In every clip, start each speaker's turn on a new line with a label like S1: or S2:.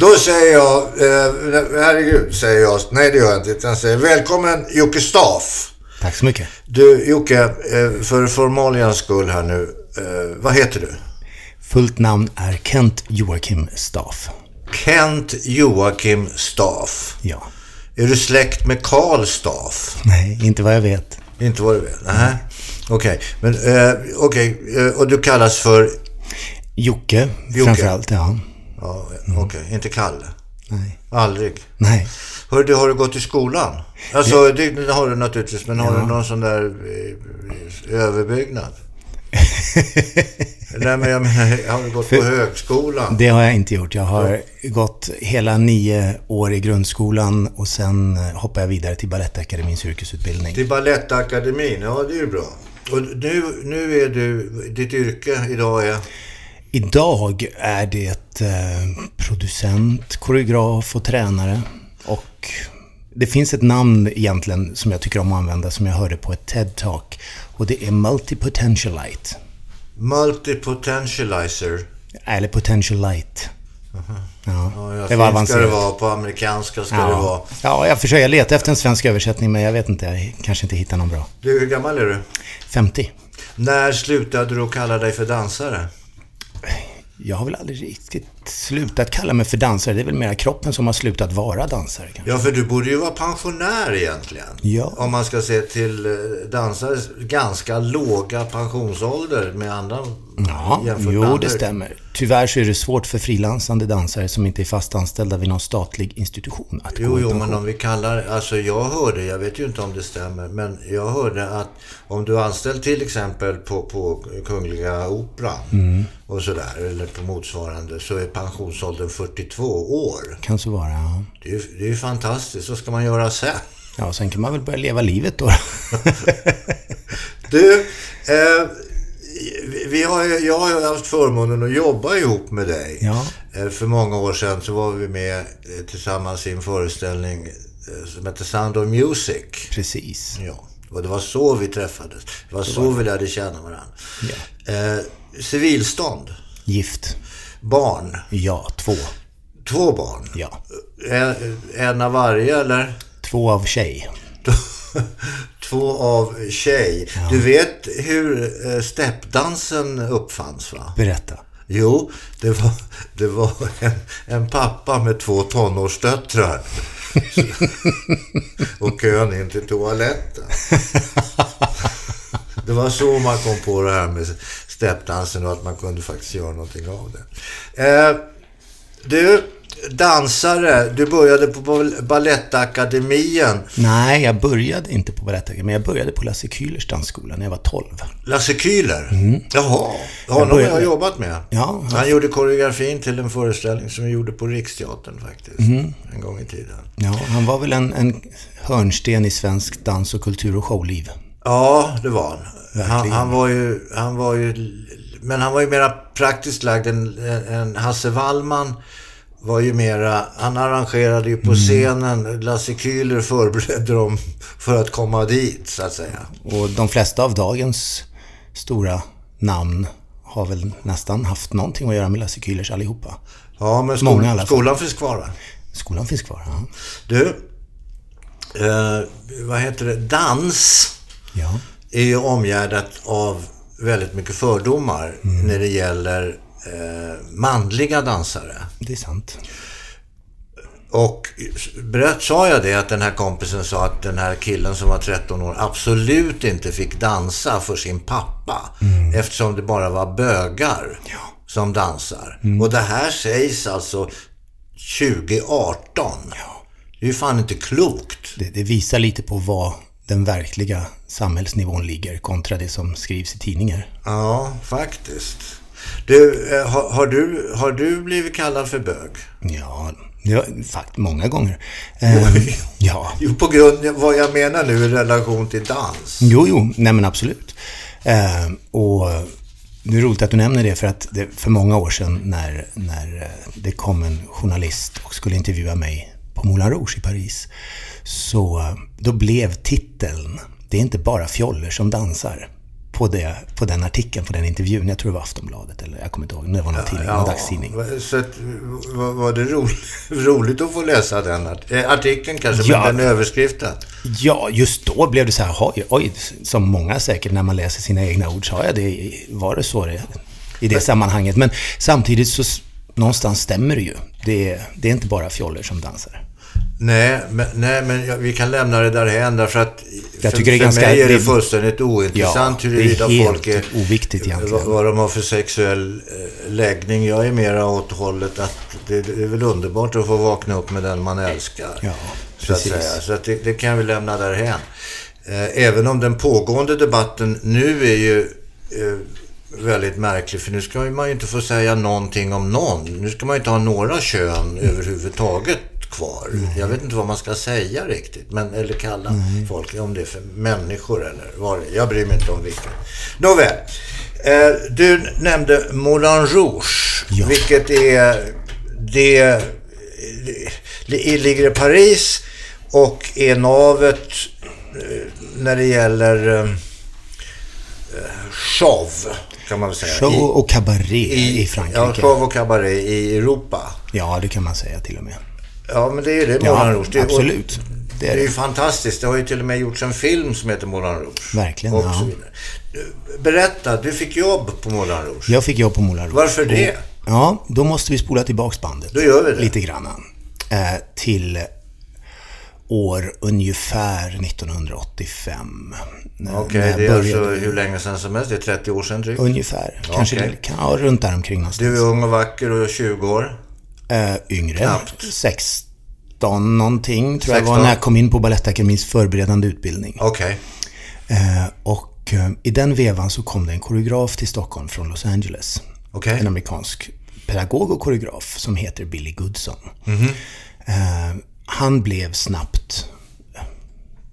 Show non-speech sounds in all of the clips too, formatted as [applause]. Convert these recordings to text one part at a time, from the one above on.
S1: Då säger jag, eh, herregud, säger jag. Nej, det gör jag inte. Utan säger, välkommen Jocke Staff.
S2: Tack så mycket.
S1: Du, Jocke, eh, för formalians skull här nu. Eh, vad heter du?
S2: Fullt namn är Kent Joakim Staff.
S1: Kent Joakim Staff.
S2: Ja.
S1: Är du släkt med Karl Staff?
S2: Nej, inte vad jag vet.
S1: Inte vad du vet? Nej. Okej, men eh, okej. eh, och du kallas för...
S2: Jocke, framförallt. Ja.
S1: Ja, okej. Inte Kalle.
S2: Nej.
S1: Aldrig.
S2: Nej.
S1: Hör du, har du gått i skolan? Alltså, det, det har du naturligtvis, men har du någon sån där eh,
S2: [laughs]
S1: överbyggnad? Nej, men jag menar, har du gått på högskolan?
S2: Det har jag inte gjort. Jag har gått hela nio år i grundskolan och sen eh, hoppade jag vidare till Balettakademins yrkesutbildning.
S1: Till Balettakademin, ja det är ju bra. Och nu, nu är du, ditt yrke idag är...
S2: Idag är det eh, producent, koreograf och tränare. Och det finns ett namn egentligen som jag tycker om att använda som jag hörde på ett TED-talk. Och det är multipotentialite.
S1: Multipotentializer.
S2: Eller potentialite.
S1: Uh-huh. Ja,
S2: Ja,
S1: jag
S2: det var
S1: finns ska det
S2: avancerat.
S1: vara, på amerikanska ska det vara.
S2: Ja. ja, jag försöker leta efter en svensk översättning men jag vet inte, jag kanske inte hittar någon bra.
S1: Du, hur gammal är du?
S2: 50.
S1: När slutade du att kalla dig för dansare?
S2: Jag har väl aldrig riktigt slutat kalla mig för dansare. Det är väl mera kroppen som har slutat vara dansare kanske.
S1: Ja, för du borde ju vara pensionär egentligen.
S2: Ja.
S1: Om man ska se till eh, dansares ganska låga pensionsålder med andra
S2: Ja,
S1: jämfört med
S2: jo
S1: andra.
S2: det stämmer. Tyvärr så är det svårt för frilansande dansare som inte är fast anställda vid någon statlig institution att
S1: Jo,
S2: gå i
S1: jo,
S2: pension.
S1: men om vi kallar... Alltså jag hörde, jag vet ju inte om det stämmer, men jag hörde att om du är anställd till exempel på, på Kungliga Operan
S2: Mm.
S1: och sådär, eller på motsvarande, så är pensionsåldern 42 år.
S2: Kan så vara, ja.
S1: Det är ju det är ju fantastiskt. Vad ska man göra sen?
S2: Ja, sen kan man väl börja leva
S1: [laughs]
S2: livet då.
S1: Du, eh, vi- vi har, ju- jag har ju haft förmånen att jobba ihop med dig.
S2: Ja.
S1: Eh, För många år sedan så var vi med eh, tillsammans i en föreställning eh, som hette Sound of Music.
S2: Precis.
S1: Ja, och det var så vi träffades. Det var så vi lärde känna varandra. Eh, civilstånd,
S2: Gift.
S1: barn,
S2: Ja, två.
S1: två barn.
S2: Ja.
S1: En, en av varje eller?
S2: Två av tjej.
S1: Två av tjej. Du vet hur eh, steppdansen uppfanns va?
S2: Berätta.
S1: Jo, det var, det var en, en pappa med två tonårsdöttrar. Och kön in till toaletten. Det var så man kom på det här med steppdansen och att man kunde faktiskt göra någonting av det. Eh, du, dansare. Du började på Bal- Balettakademin.
S2: Nej, jag började inte på Balettakademin, men jag började på Lasse Kühlers dansskola när jag var 12.
S1: Lasse Kühler? Jaha, honom har
S2: Mm. började-
S1: jag jobbat med.
S2: Ja, ja.
S1: Han gjorde koreografin till en föreställning som vi gjorde på Riksteatern faktiskt.
S2: Mhm.
S1: En gång i tiden.
S2: Ja, han var väl en, en hörnsten i svensk dans och kultur och showliv.
S1: Ja, det var han. Han, han var ju... Han var ju men han var ju mera praktiskt lagd än, än Hasse Wallman. Var ju mera, han arrangerade ju på
S2: Mm.
S1: scenen. Lasse Kühler förberedde dem för att komma dit, så att säga.
S2: Och de flesta av dagens stora namn har väl nästan haft någonting att göra med Lasse Kühlers allihopa.
S1: Ja, men
S2: Många i
S1: skol,
S2: alla fall.
S1: skolan finns kvar, va?
S2: Skolan finns kvar, ja.
S1: Du, eh, vad heter det? Dans
S2: ja.
S1: är ju omgärdat av väldigt mycket fördomar när det gäller eh, manliga dansare.
S2: Det är sant.
S1: Och berätt, sa jag det att den här kompisen sa att den här killen som var 13 år absolut inte fick dansa för sin pappa. Eftersom det bara var bögar som dansar. Och det här sägs alltså 2018. Det är ju fan inte klokt.
S2: Det, det visar lite på vad den verkliga samhällsnivån ligger kontra det som skrivs i tidningar.
S1: Ja, faktiskt. Du, eh, har, har, du, har du blivit kallad för bög?
S2: Ja, ja fakt, många gånger. Ehm, ja,
S1: Jo, på grund av vad jag menar nu i relation till dans.
S2: Jo, jo, nej men absolut. Eh, och det är roligt att du nämner det för att det, för många år sedan när, när eh, det kom en journalist och skulle intervjua mig på Moulin Rouge i Paris. Så eh, då blev titeln Det är inte bara fjoller som dansar. på, det, på den artikeln, på den intervjun. Jag tror det var Aftonbladet eller jag kommer inte ihåg. Det var någon tidning, någon dagstidning.
S1: Så att, var, var det roligt, [laughs] roligt att få läsa den art- eh, artikeln kanske,
S2: Ja.
S1: men den överskriften?
S2: Ja, just då blev det så här, oj, oj, som många säkert när man läser sina egna ord, sa jag det, var det så det, i det sammanhanget? Men samtidigt så s- någonstans stämmer det ju. Det, är- det är inte bara fjoller som dansar.
S1: Nej, men, nej, men jag, vi kan lämna det därhän därför att
S2: Jag
S1: för,
S2: tycker det är
S1: för
S2: ganska-
S1: mig är det
S2: det-
S1: fullständigt ointressant
S2: Ja, det är
S1: huruvida
S2: helt
S1: folk är...
S2: oviktigt egentligen.
S1: Vad, vad de har för sexuell eh, läggning. Jag är mera åt hållet att det, det är väl underbart att få vakna upp med den man älskar.
S2: Ja,
S1: så att
S2: precis.
S1: säga. Så att det, det kan vi lämna därhän. Eh, även om den pågående debatten nu är ju eh, väldigt märklig. För nu ska man ju inte få säga någonting om någon. Nu ska man ju inte ha några kön
S2: Mm.
S1: överhuvudtaget kvar. Jag vet inte vad man ska säga riktigt. Men, eller kalla
S2: Mm.
S1: folk, om det är för människor eller vad det är. Jag bryr mig inte om vilket. Nåväl. Eh, du nämnde Moulin Rouge.
S2: Ja.
S1: Vilket är... Det li- ligger i Paris och är navet eh, när det gäller eh, show, kan man väl säga.
S2: Show och kabaré i,
S1: Ja,
S2: Frankrike. Ja,
S1: show och cabaret i Europa.
S2: det kan man säga till och med.
S1: Ja, men det är ju det, Moulin
S2: Ja,
S1: Rouge. Det är-
S2: absolut. Det
S1: Det
S2: är
S1: är ju
S2: det.
S1: fantastiskt. Det har ju till och med gjorts en film som heter Moulin Rouge.
S2: Verkligen,
S1: Och
S2: ja.
S1: så vidare. Eh, Berätta, du fick jobb på Moulin Rouge.
S2: Jag fick jobb på Moulin Rouge.
S1: Varför det?
S2: Ja, då måste vi spola tillbaks bandet.
S1: Då gör vi det.
S2: Lite grann. Eh, till år ungefär 1985. När-
S1: Okej,
S2: när jag
S1: det är
S2: började.
S1: alltså hur länge sedan som helst. Det är 30 år sedan drygt.
S2: Ungefär. Kanske
S1: Okej.
S2: det- kan, ja, runt där omkring någonstans.
S1: Du är ung och vacker och 20 år.
S2: Eh, yngre. 16 någonting tror jag
S1: 16.
S2: var när jag kom in på Balettakademins förberedande utbildning.
S1: Okej.
S2: Eh, och eh, i den vevan så kom det en koreograf till Stockholm från Los Angeles.
S1: Okej.
S2: En amerikansk pedagog och koreograf som heter Billy Goodson. Eh, han blev snabbt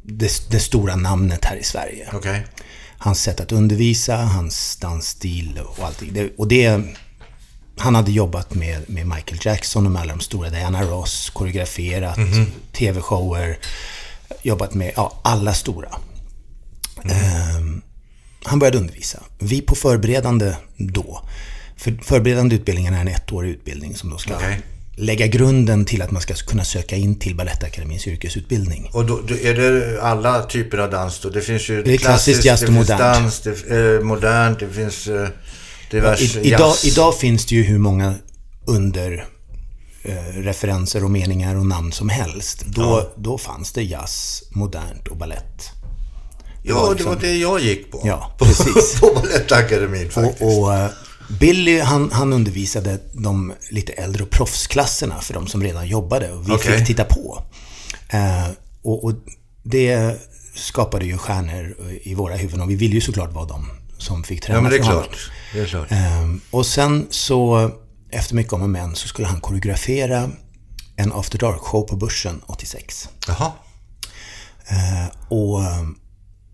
S2: det, det stora namnet här i Sverige.
S1: Okej.
S2: Hans sätt att undervisa, hans dansstil och allting. Det, och det, han hade jobbat med, med Michael Jackson och med alla de stora, Diana Ross, koreograferat, TV-shower, jobbat med ja, alla stora. Ehm, han började undervisa. Vi på förberedande då, för förberedande utbildningen är en ettårig utbildning som då ska
S1: Okej.
S2: lägga grunden till att man ska kunna söka in till Balettakademins yrkesutbildning.
S1: Och då, då är det alla typer av dans då? Det finns ju
S2: är klassiskt, jazz och
S1: det finns
S2: modernt.
S1: dans, det, eh, modernt, det finns eh, diverse
S2: I,
S1: jazz.
S2: idag, idag finns det ju hur många under eh, referenser och meningar och namn som helst. Då, då fanns det jazz, modernt och ballett.
S1: ja, det var det jag gick på. [laughs]
S2: liksom. Ja,
S1: på,
S2: precis.
S1: på Balettakademin faktiskt.
S2: Och, och eh, Billy, han, han undervisade de lite äldre och proffsklasserna för de som redan jobbade och vi
S1: Okej.
S2: fick titta på. Eh, och, och det skapade ju stjärnor i våra huvuden och vi ville ju såklart vara de som fick träna
S1: ja, men det är
S2: för honom.
S1: klart. Det är klart.
S2: Ehm, Och sen så, efter mycket om och men, så skulle han koreografera en After Dark-show på Börsen 86.
S1: Jaha.
S2: Och ehm,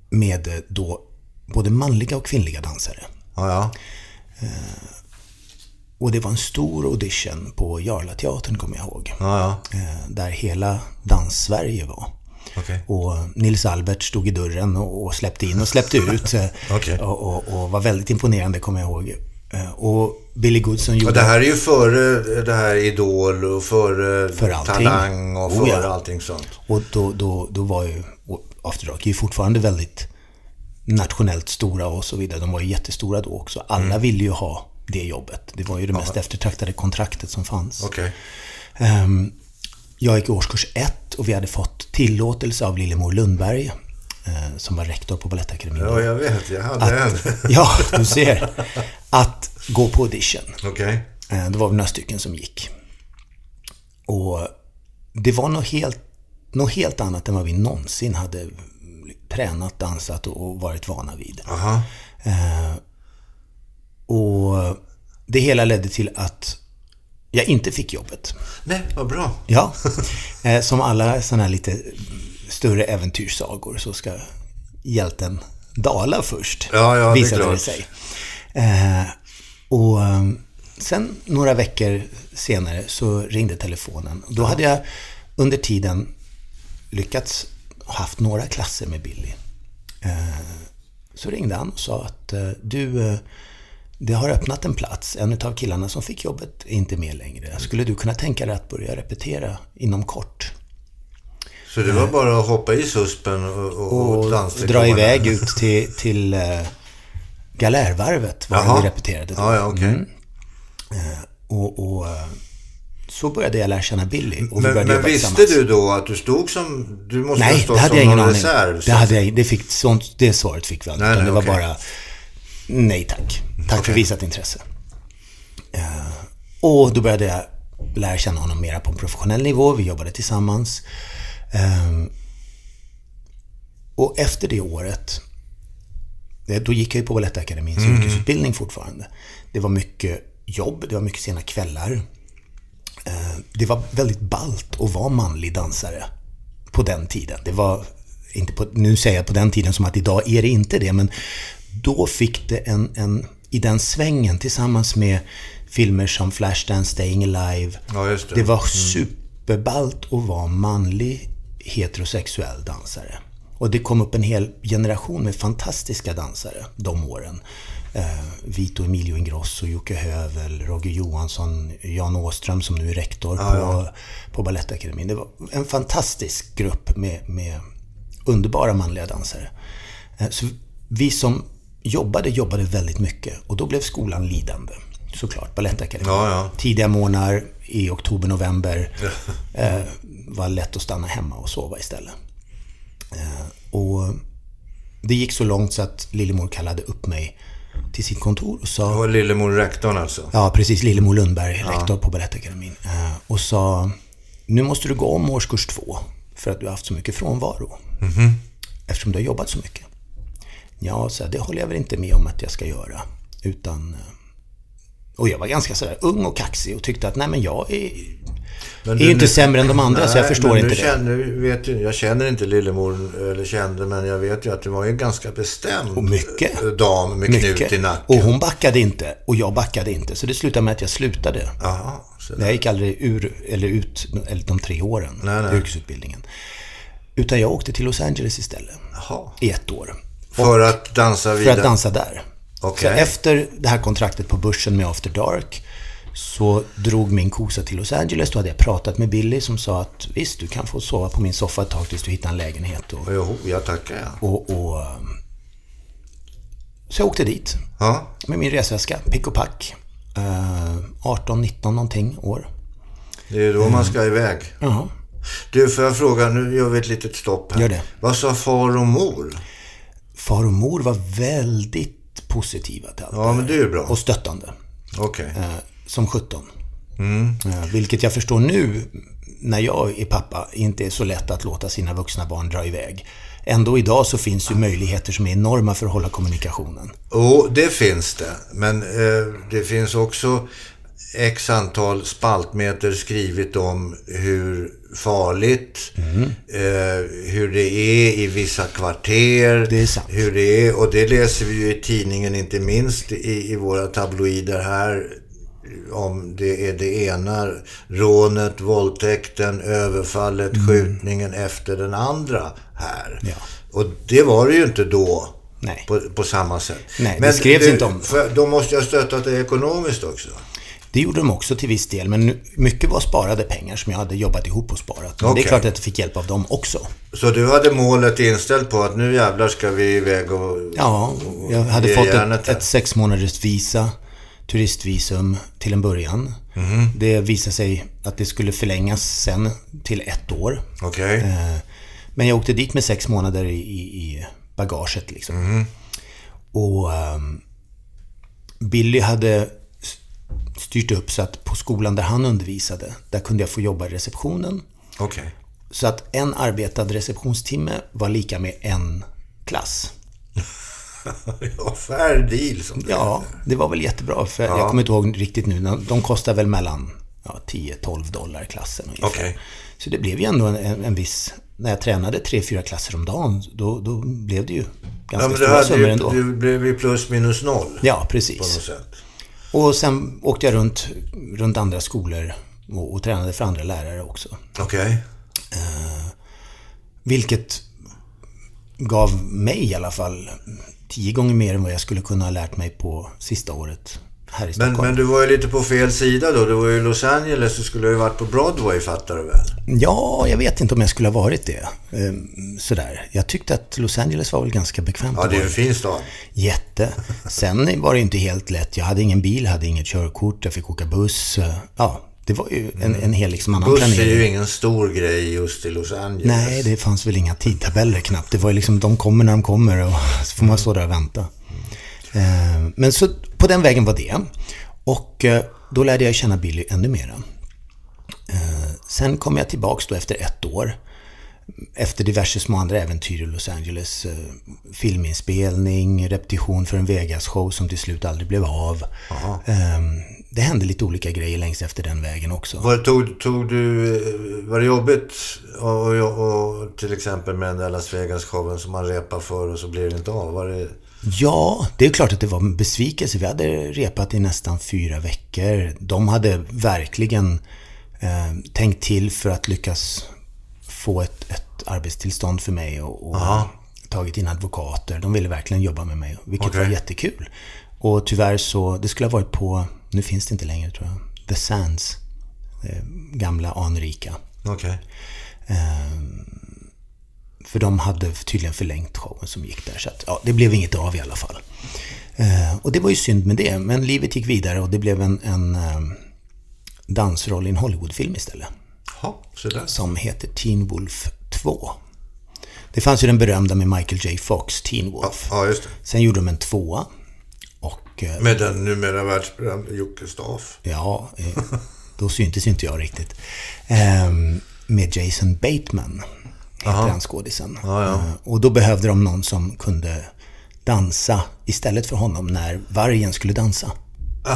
S2: med eh, då både manliga och kvinnliga dansare.
S1: Ja, ja.
S2: Och det var en stor audition på Jarlateatern, kommer jag ihåg.
S1: Ja, ja.
S2: eh, Där hela dans-Sverige var.
S1: Okej.
S2: Och Nils Albert stod i dörren och, och släppte in och släppte ut. eh,
S1: [laughs] Okej.
S2: och, och, och var väldigt imponerande, kommer jag ihåg. Eh, Och Billy Goodson gjorde...
S1: Och det här är ju före eh, det här Idol och före
S2: För allting.
S1: Talang och
S2: Oh,
S1: före
S2: ja.
S1: allting sånt.
S2: Och då, då, då var ju och After Dark är ju fortfarande väldigt nationellt stora och så vidare. De var ju jättestora då också. Alla ville ju ha det jobbet. Det var ju det mest eftertraktade kontraktet som fanns.
S1: Okej.
S2: Ehm, jag gick i årskurs ett och vi hade fått tillåtelse av Lillemor Lundberg, eh, som var rektor på Balettakademin.
S1: Ja, jag vet. Jag hade en. [laughs]
S2: Ja, du ser. Att gå på audition.
S1: Okej.
S2: Eh, Det var väl några stycken som gick. Och det var något helt, något helt annat än vad vi någonsin hade tränat, dansat och och varit vana vid.
S1: Aha.
S2: Och det hela ledde till att jag inte fick jobbet.
S1: Nej, vad bra.
S2: Ja, [laughs] eh, som alla sådana här lite större äventyrssagor så ska hjälten dala först.
S1: Ja, ja, det är
S2: visade
S1: klart.
S2: det sig. Eh, och eh, sen några veckor senare så ringde telefonen. Då hade jag under tiden lyckats ha haft några klasser med Billy. Eh, Så ringde han och sa att eh, du, eh, det har öppnat en plats. En av killarna som fick jobbet är inte med längre. Skulle du kunna tänka dig att börja repetera inom kort?
S1: Så det var bara att hoppa i suspen och, och,
S2: Och
S1: och
S2: dra iväg ut till, till eh, galärvarvet var
S1: Jaha.
S2: vi repeterade Mm. då.
S1: Ja, ja, okej.
S2: Och, och eh, så började jag lära känna Billy. Och
S1: Men,
S2: vi började
S1: men
S2: jobba
S1: visste
S2: tillsammans.
S1: du då att du stod som... Du måste ha
S2: Nej,
S1: stått
S2: det hade
S1: som
S2: jag ingen
S1: någon
S2: aning
S1: reserv.
S2: det, hade jag, ing- det, fick, sånt, det svaret fick vi aldrig.
S1: Nej,
S2: utan
S1: nej,
S2: det var
S1: okej.
S2: bara, nej tack. Tack för visat intresse. Eh, och då började jag lära känna honom mera på en professionell nivå. Vi jobbade tillsammans. Eh, och efter det året, det- då gick jag ju på Balettakademins yrkesutbildning fortfarande. Det var mycket jobb, det var mycket sena kvällar. Eh, Det var väldigt balt att vara manlig dansare på den tiden. Det var inte på, nu säger jag på den tiden som att idag är det inte det, men då fick det en, en i den svängen tillsammans med filmer som Flashdance, Staying Alive.
S1: Ja, just det.
S2: det var superballt att vara manlig heterosexuell dansare. Och det kom upp en hel generation med fantastiska dansare de åren. Eh, Vito Emilio Ingrosso, Jocke Hövel, Roger Johansson, Jan Åström som nu är rektor på, på Balettakademin. Det var en fantastisk grupp med, med underbara manliga dansare. Eh, så vi som jobbade, jobbade väldigt mycket och då blev skolan lidande. Såklart, Balettakademin.
S1: Ja, ja.
S2: Tidiga morgnar i oktober, november. eh, var lätt att stanna hemma och sova istället. Eh, och det gick så långt så att Lillemor kallade upp mig till sitt kontor och sa...
S1: Det var Lillemor rektorn alltså.
S2: Ja, precis. Lillemor Lundberg, rektor på Balettakademin. Eh, och sa, nu måste du gå om årskurs två för att du har haft så mycket frånvaro.
S1: Mhm.
S2: Eftersom du har jobbat så mycket. Ja, så här, det håller jag väl inte med om att jag ska göra. Utan... eh, Och jag var ganska sådär ung och kaxig och tyckte att nej men jag är,
S1: Men
S2: är ju inte sämre än de andra så jag
S1: Nej,
S2: förstår
S1: men
S2: inte
S1: nu
S2: det.
S1: Känner, nu vet ju, jag känner inte Lillemor, eller kände, men jag vet ju att du var ju en ganska bestämd
S2: mycket.
S1: eh, dam med knut i
S2: Mycket.
S1: nacken.
S2: Och hon backade inte och jag backade inte. Så det slutade med att jag slutade.
S1: Jaha, så
S2: Jag gick aldrig ur, eller ut eller de tre åren,
S1: Nej, nej.
S2: yrkesutbildningen. Utan jag åkte till Los Angeles istället.
S1: Jaha.
S2: I ett år.
S1: För att dansa
S2: För
S1: vidare?
S2: att dansa där.
S1: Okej.
S2: Så efter det här kontraktet på börsen med After Dark så drog min kosa till Los Angeles. Då hade jag pratat med Billy som sa att visst, du kan få sova på min soffa ett tag tills du hittar en lägenhet. Och,
S1: Jo, jag tackar ja.
S2: och, och, eh, så jag åkte dit
S1: ja.
S2: med min resväska, pick och pack. Eh, 18-19 någonting år.
S1: Det är då
S2: Mm.
S1: man ska iväg.
S2: Jaha.
S1: Du, får jag fråga, nu gör vi ett litet stopp här.
S2: Gör det.
S1: Vad sa far och mor?
S2: Far och mor var väldigt positiva till allt det
S1: Ja, men det är ju bra.
S2: här. Och stöttande.
S1: Okej.
S2: eh, Som 17. Eh, Vilket jag förstår nu, när jag är pappa, inte är så lätt att låta sina vuxna barn dra iväg. Ändå idag så finns ju möjligheter som är enorma för att hålla kommunikationen.
S1: Jo, det finns det. Men eh, det finns också x antal spaltmeter skrivet om hur farligt, eh, hur det är i vissa kvarter,
S2: Det är sant.
S1: hur det är. Och det läser vi ju i tidningen, inte minst i, i våra tabloider här, om det är det ena rånet, våldtäkten, överfallet, skjutningen efter den andra här.
S2: Mm. Ja.
S1: Och det var det ju inte då.
S2: Nej.
S1: På, på samma sätt.
S2: Nej, det skrevs inte om det.
S1: För, då måste jag stötta dig ekonomiskt också.
S2: Det gjorde de också till viss del, men nu- mycket var sparade pengar som jag hade jobbat ihop och sparat. Men
S1: Okej.
S2: det är klart att jag fick hjälp av dem också.
S1: Så du hade målet inställt på att nu jävlar ska vi iväg och...
S2: Ja, jag
S1: det
S2: hade
S1: är
S2: fått
S1: hjärnet
S2: ett,
S1: där.
S2: ett sex månaders visa, turistvisum till en början.
S1: Mhm.
S2: Det visade sig att det skulle förlängas sen till ett år.
S1: Okej.
S2: Eh, Men jag åkte dit med sex månader i, i- i bagaget liksom.
S1: Mhm.
S2: Och ehm, Billy hade s- styrt upp så att på skolan där han undervisade, där kunde jag få jobba i receptionen.
S1: Okej. [laughs]
S2: Så att en arbetad receptionstimme var lika med en klass.
S1: Ja, fair deal som det
S2: Ja, det var väl jättebra. För Jag kommer inte ihåg riktigt nu. De kostar väl mellan ja, 10-12 dollar klassen ungefär.
S1: Okej.
S2: Så det blev ju ändå en, en, en viss... När jag tränade 3-4 klasser om dagen, då, då blev det ju
S1: Ja,
S2: ganska
S1: men det,
S2: stora
S1: hade
S2: summor
S1: ju,
S2: ändå.
S1: det blev ju plus minus noll.
S2: Ja,
S1: På något
S2: precis.
S1: sätt.
S2: Och sen åkte jag runt, runt andra skolor och, och tränade för andra lärare också.
S1: Okej.
S2: Vilket gav mig i alla fall tio gånger mer än vad jag skulle kunna ha lärt mig på sista året här i
S1: Men,
S2: Stockholm.
S1: men du var ju lite på fel sida då. Du var ju i Los Angeles och skulle ha ju varit på Broadway fattar du väl?
S2: Ja, jag vet inte om jag skulle ha varit det. Ehm, Sådär. Jag tyckte att Los Angeles var väl ganska bekvämt.
S1: Ja,
S2: att
S1: det är
S2: vara
S1: en
S2: i.
S1: fin stad.
S2: Jätte. Sen var det ju inte helt lätt. Jag hade ingen bil, hade inget körkort, jag fick åka buss. Ja, det var ju en, en hel liksom annan
S1: Buss är
S2: planering.
S1: ju ingen stor grej just i Los Angeles.
S2: Nej, det fanns väl inga tidtabeller knappt. Det var ju liksom, de kommer när de kommer och så får man stå där och vänta. Eh, Men så på den vägen var det. Och eh, då lärde jag känna Billy ännu mera. Eh, Sen kom jag tillbaks då efter ett år. Efter diverse små andra äventyr i Los Angeles. eh, Filminspelning, repetition för en Vegas-show som till slut aldrig blev av. Eh, Det hände lite olika grejer längs efter den vägen också.
S1: Var, tog, tog du, eh, var det jobbigt och, och, och till exempel med den där Las Vegas-showen som man repar för och så blir det inte av? Var det,
S2: Ja, det är klart att det var en besvikelse. Vi hade repat i nästan fyra veckor. De hade verkligen eh, tänkt till för att lyckas få ett, ett arbetstillstånd för mig och, och tagit in advokater. De ville verkligen jobba med mig, vilket
S1: Okej.
S2: var jättekul. Och tyvärr så, det skulle ha varit på, nu finns det inte längre tror jag, The Sands. eh, Gamla anrika.
S1: okej.
S2: För de hade tydligen förlängt showen som gick där. Så att, ja, det blev inget av i alla fall. Eh, och det var ju synd med det. Men livet gick vidare och det blev en, en eh, dansroll i en Hollywoodfilm istället.
S1: Ja, så där.
S2: Som heter Teen Wolf 2. Det fanns ju den berömda med Michael J Fox, Teen Wolf.
S1: Ja, just det.
S2: Sen gjorde de en tvåa. Och eh,
S1: Med den numera världsberömde Jocke Staaf.
S2: ja, eh, då syntes ju inte jag riktigt. Ehm, med Jason Bateman, heter han skådisen. Eh, Och då behövde de någon som kunde dansa istället för honom när vargen skulle dansa.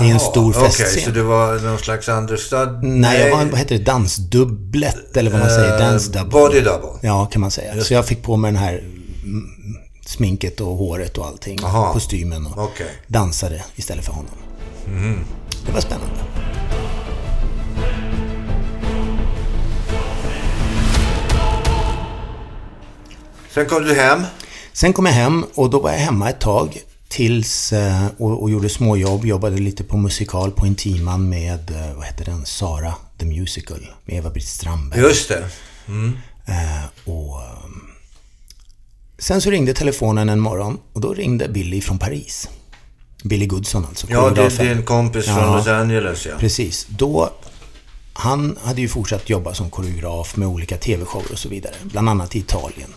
S2: I en stor
S1: Jaha,
S2: festscen.
S1: Okej, så det var någon slags understud?
S2: Nej, jag var, vad heter det? Dansdubblett eller vad man säger. Dance
S1: Eh,
S2: double.
S1: Body double.
S2: Ja, kan man säga. Så jag fick på mig den här mm, sminket och håret och allting.
S1: Aha.
S2: Kostymen och
S1: Okej. Mhm.
S2: dansade istället för honom. Det var spännande.
S1: Sen kom du hem.
S2: Sen kom jag hem och då var jag hemma ett tag tills eh, och, och gjorde småjobb. Jobbade lite på musikal på Intiman med, eh, vad heter den, Sara the Musical med Eva-Britt Strandberg.
S1: Just det.
S2: Och, eh, sen så ringde telefonen en morgon och då ringde Billy från Paris. Billy Goodson alltså,
S1: Ja, det är
S2: koreografen.
S1: din kompis från
S2: Ja.
S1: Los Angeles, ja.
S2: Precis. Då, han hade ju fortsatt jobba som koreograf med olika TV-shower och så vidare. Bland annat i Italien.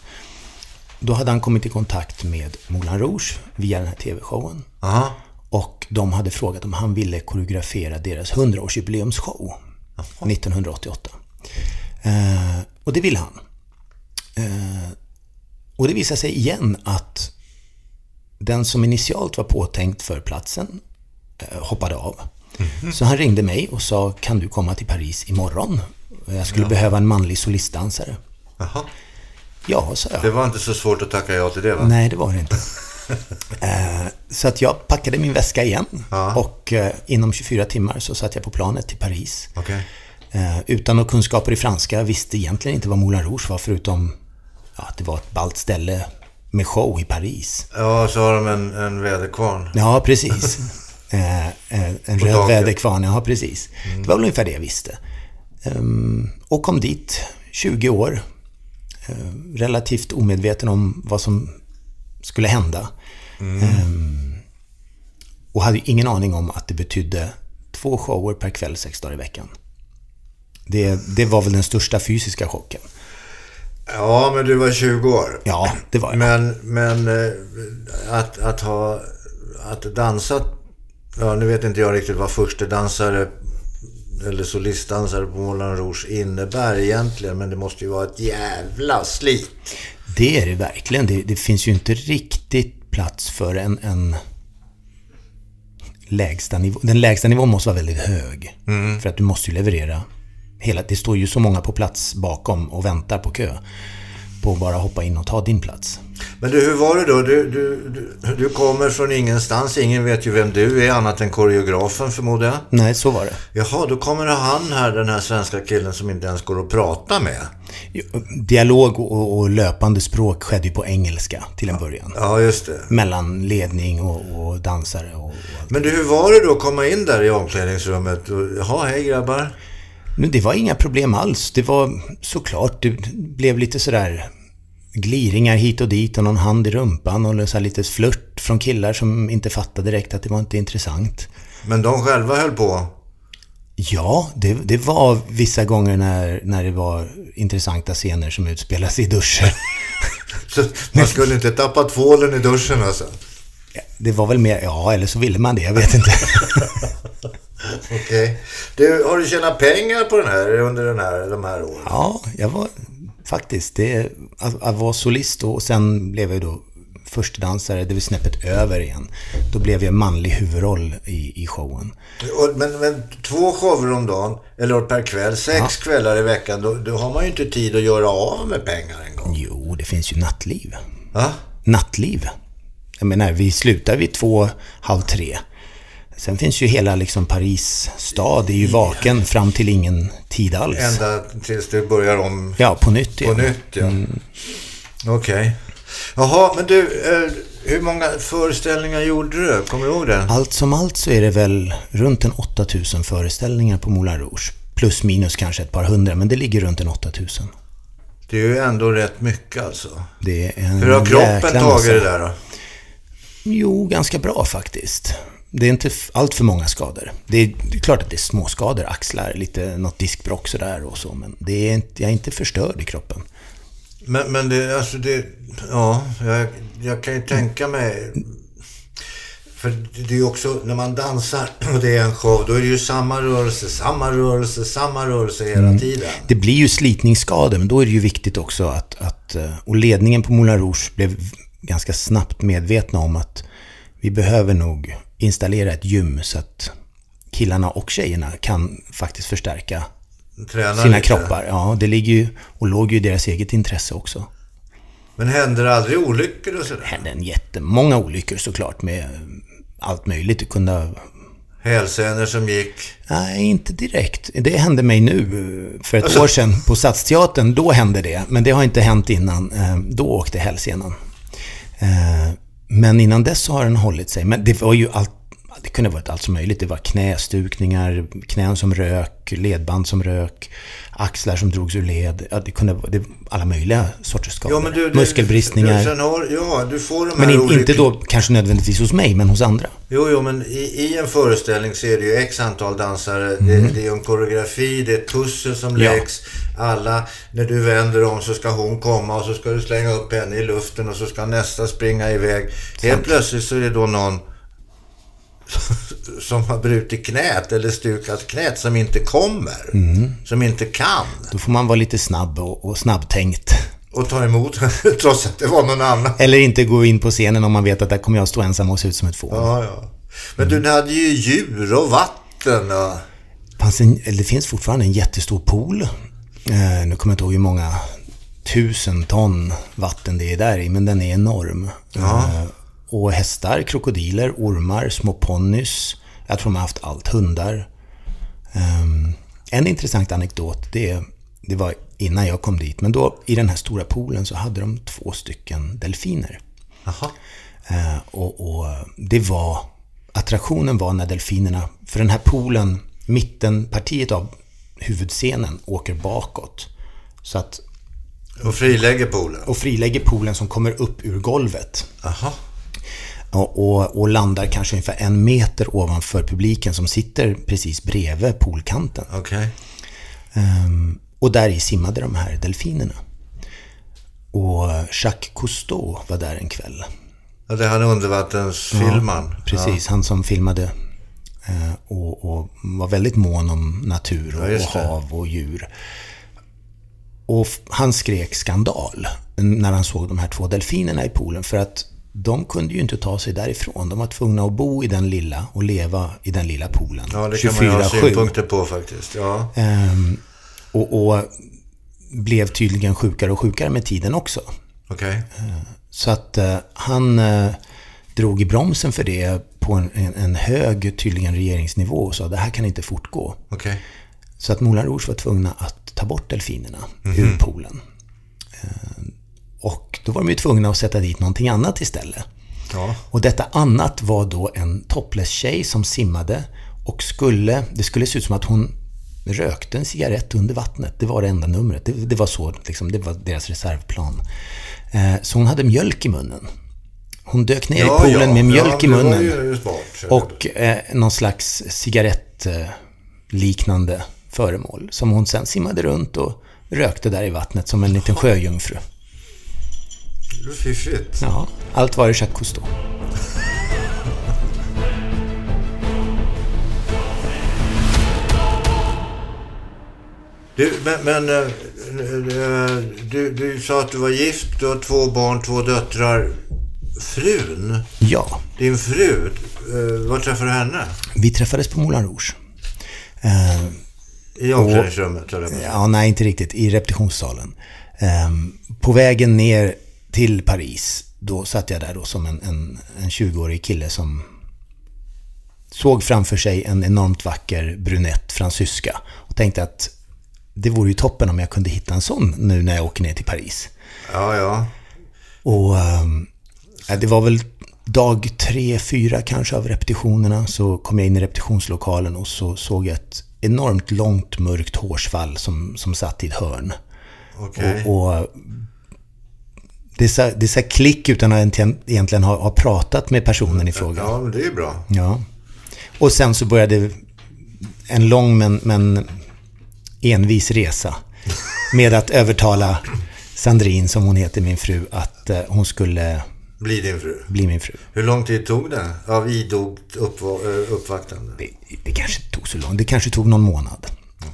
S2: Då hade han kommit i kontakt med Moulin Rouge via den här TV-showen.
S1: Aha.
S2: Och de hade frågat om han ville koreografera deras 100-årsjubileumsshow 1988. Eh, och det ville han. Eh, och det visade sig igen att den som initialt var påtänkt för platsen eh, hoppade av. Så han ringde mig och sa, kan du komma till Paris imorgon? Jag skulle behöva en manlig solistdansare.
S1: Jaha.
S2: Ja, sa jag.
S1: Det var inte så svårt att tacka ja till det, va?
S2: Nej, det var det inte. Eh, Så att jag packade min väska igen och eh, inom 24 timmar så satt jag på planet till Paris.
S1: Okej.
S2: Eh, Utan några kunskaper i franska, visste egentligen inte vad Moulin Rouge var förutom ja, att det var ett ballt ställe med show i Paris.
S1: Ja, så har de en, en väderkvarn.
S2: Ja, precis.
S1: [laughs]
S2: Eh, eh, en röd
S1: taket. Mm.
S2: väderkvarn, ja precis. Det var väl ungefär det jag visste. Ehm, Och kom dit, 20 år, eh, relativt omedveten om vad som skulle hända.
S1: Mm.
S2: Ehm, Och hade ju ingen aning om att det betydde två shower per kväll sex dagar i veckan. Det, det var väl den största fysiska chocken.
S1: Ja, men du var 20 år.
S2: Ja, det var jag.
S1: Men, men eh, att, att ha... Att dansa... Ja, nu vet inte jag riktigt vad förstedansare eller solistdansare på Moulin Rouge innebär egentligen, men det måste ju vara ett jävla slit.
S2: Det är det verkligen. Det, det finns ju inte riktigt plats för en, en lägsta nivå. Den lägsta nivån måste vara väldigt hög. För att du måste ju leverera. Hela, det står ju så många på plats bakom och väntar på kö. På att bara hoppa in och ta din plats.
S1: Men du, hur var det då? Du, du, du, du kommer från ingenstans. Ingen vet ju vem du är, annat än koreografen förmodar jag.
S2: Nej, så var det.
S1: Jaha, då kommer han här, den här svenska killen som inte ens går att prata med.
S2: Dialog och, och löpande språk skedde ju på engelska till en början.
S1: Ja, just det.
S2: Mellan ledning och, och dansare och, och allt.
S1: Men du, hur var det då att komma in där i omklädningsrummet? Och, Jaha, hej grabbar.
S2: Men det var inga problem alls. Det var såklart, det blev lite sådär gliringar hit och dit och någon hand i rumpan och så här lite flört från killar som inte fattade direkt att det var inte intressant.
S1: Men de själva höll på.
S2: Ja, det, det var vissa gånger när, när det var intressanta scener som utspelas i duschen. [laughs]
S1: Så man skulle inte tappa tvålen i duschen alltså.
S2: Det var väl mer, ja, eller så ville man det, jag vet inte.
S1: Okej. Du, har du tjänat pengar på den här under den här, de här åren?
S2: Ja, jag var faktiskt, det, att, att vara solist då, och sen blev jag ju då förstdansare, det var snäppet över igen. Då blev jag manlig huvudroll i, i showen.
S1: Och, men, men två shower om dagen, eller per kväll, sex kvällar i veckan, då, då har man ju inte tid att göra av med pengar en gång.
S2: Jo, det finns ju nattliv.
S1: Va?
S2: Nattliv. Jag menar, vi slutar vid två, halv tre. Sen finns ju hela liksom Paris stad, är ju vaken fram till ingen tid alls.
S1: Ända tills du börjar om
S2: Ja, på nytt
S1: på
S2: igen.
S1: nytt, ja. Okej. Jaha, men du, eh, hur många föreställningar gjorde du? Kommer du ihåg det?
S2: Allt som allt så är det väl runt en 8000 föreställningar på Moulin Rouge. Plus minus kanske ett par hundra, men det ligger runt en 8000.
S1: Det är ju ändå rätt mycket alltså.
S2: Det är en
S1: Hur har kroppen
S2: Mm, jäkla
S1: tagit
S2: massa.
S1: det där då?
S2: Jo, ganska bra faktiskt. Det är inte f- allt för många skador. Det är, det är klart att det är små skador, axlar, lite något diskbråck sådär och så, men det är inte, jag är inte förstörd i kroppen.
S1: Men, men det, alltså det, ja, jag, jag kan ju tänka mig. För det är ju också, när man dansar [clears throat] och det är en show, då är det ju samma rörelse, samma rörelse, samma rörelse hela
S2: Mm.
S1: tiden.
S2: Det blir ju slitningsskador, men då är det ju viktigt också att... att eh, och ledningen på Moulin Rouge blev ganska snabbt medvetna om att vi behöver nog installera ett gym så att killarna och tjejerna kan faktiskt förstärka
S1: Tränar
S2: sina
S1: lite.
S2: kroppar. Ja, det ligger ju och låg ju i deras eget intresse också.
S1: Men händer det aldrig olyckor och
S2: Det
S1: sådär?
S2: hände en jättemånga olyckor såklart med allt möjligt. Det kunde
S1: Hälsenor som gick?
S2: Nej, inte direkt. Det hände mig nu för ett år sedan på Stadsteatern. Då hände det, men det har inte hänt innan. Eh, Då åkte hälsenan. Eh, Men innan dess så har den hållit sig. Men det var ju allt det kunde ha varit allt som möjligt. Det var knästukningar, knän som rök, ledband som rök, axlar som drogs ur led. Ja, det kunde ha varit- det, alla möjliga sorters skador.
S1: Ja, men du, du,
S2: Muskelbristningar.
S1: Du, sen har, ja, du får de här
S2: men in,
S1: olyckorna.
S2: inte då kanske nödvändigtvis hos mig, men hos andra.
S1: Jo, jo, men i, i en föreställning så är det ju x antal dansare. Det, det är ju en koreografi, det är ett pussel som
S2: Ja.
S1: läggs. Alla, när du vänder om så ska hon komma och så ska du slänga upp henne i luften och så ska nästa springa iväg. Helt plötsligt så är det då någon [laughs] som har brutit knät eller stukat knät som inte kommer. Som inte kan.
S2: Då får man vara lite snabb och, och snabbtänkt.
S1: Och tar emot [laughs] trots att det var någon annan.
S2: Eller inte gå in på scenen om man vet att där kommer jag stå ensam och se ut som ett fån.
S1: Ja, ja. Men du, ni hade ju djur och vatten och...
S2: Det Fanns en, eller det finns fortfarande en jättestor pool. Eh, nu kommer jag inte ihåg hur många tusen ton vatten det är där i, men den är enorm. Eh, och hästar, krokodiler, ormar, små ponnys. Jag tror de har haft allt. Hundar. Ehm, en intressant anekdot, det, det var innan jag kom dit, men då i den här stora poolen så hade de två stycken delfiner.
S1: Jaha.
S2: Eh, och, och det var, attraktionen var när delfinerna, för den här poolen, mittenpartiet av huvudscenen åker bakåt. Så att,
S1: Och frilägger poolen.
S2: och frilägger poolen som kommer upp ur golvet.
S1: Jaha.
S2: Och, och, och landar kanske ungefär en meter ovanför publiken som sitter precis bredvid poolkanten.
S1: Okej.
S2: Ehm, och där i simmade de här delfinerna. Och Jacques Cousteau var där en kväll.
S1: Ja, det är han undervattensfilmaren.
S2: Precis, han som filmade eh, och, och var väldigt mån om natur och,
S1: Ja, just
S2: och
S1: det.
S2: hav och djur. Och f- han skrek skandal när han såg de här två delfinerna i poolen för att de kunde ju inte ta sig därifrån. De var tvungna att bo i den lilla och leva i den lilla poolen.
S1: Ja, det kan man ju ha synpunkter på faktiskt. Ja.
S2: Ehm, och, och blev tydligen sjukare och sjukare med tiden också.
S1: Okej.
S2: Så att eh, han eh, drog i bromsen för det på en, en, en hög, tydligen regeringsnivå och sa det här kan inte fortgå.
S1: Okej.
S2: Så att Moulin Rouge var tvungna att ta bort delfinerna ur poolen. Eh, Och då var de ju tvungna att sätta dit någonting annat istället.
S1: Ja.
S2: Och detta annat var då en topless-tjej som simmade och skulle, det skulle se ut som att hon rökte en cigarett under vattnet. Det var det enda numret. Det, det var så, liksom, det var deras reservplan. Eh, så hon hade mjölk i munnen. Hon dök ner i poolen med mjölk
S1: ja,
S2: i munnen.
S1: Det var ju smart.
S2: Och eh, någon slags cigarettliknande föremål som hon sen simmade runt och rökte där i vattnet som en liten sjöjungfru.
S1: Det var Fiffigt.
S2: Ja, allt var i Jacques Cousteau.
S1: Du, men, men eh, eh, du, du sa att du var gift, du har två barn, två döttrar. Frun,
S2: Ja,
S1: din fru, eh, var träffade du henne?
S2: vi träffades på Moulin Rouge. Eh,
S1: I omklädningsrummet, höll jag på att säga.
S2: ja, nej, inte riktigt. I repetitionssalen. Ehm, på vägen ner till Paris, då satt jag där då som en, en, en 20-årig kille som såg framför sig en enormt vacker brunett fransyska och tänkte att det vore ju toppen om jag kunde hitta en sån nu när jag åker ner till Paris.
S1: Ja, ja.
S2: Och ehm, ja, det var väl dag tre, fyra kanske av repetitionerna så kom jag in i repetitionslokalen och så såg jag ett enormt långt mörkt hårsvall som, som satt i ett hörn.
S1: Okej.
S2: Och det sa, det sa klick utan att egentligen- egentligen ha, ha pratat med personen i fråga.
S1: Ja, men det är ju bra.
S2: Ja. Och sen så började en lång men, men envis resa med att övertala Sandrine, som hon heter, min fru, att eh, hon skulle
S1: Bli din fru.
S2: bli min fru.
S1: Hur lång tid tog det av idogt uppva- eh, uppvaktande?
S2: Det, det kanske inte tog så långt, det kanske tog någon månad.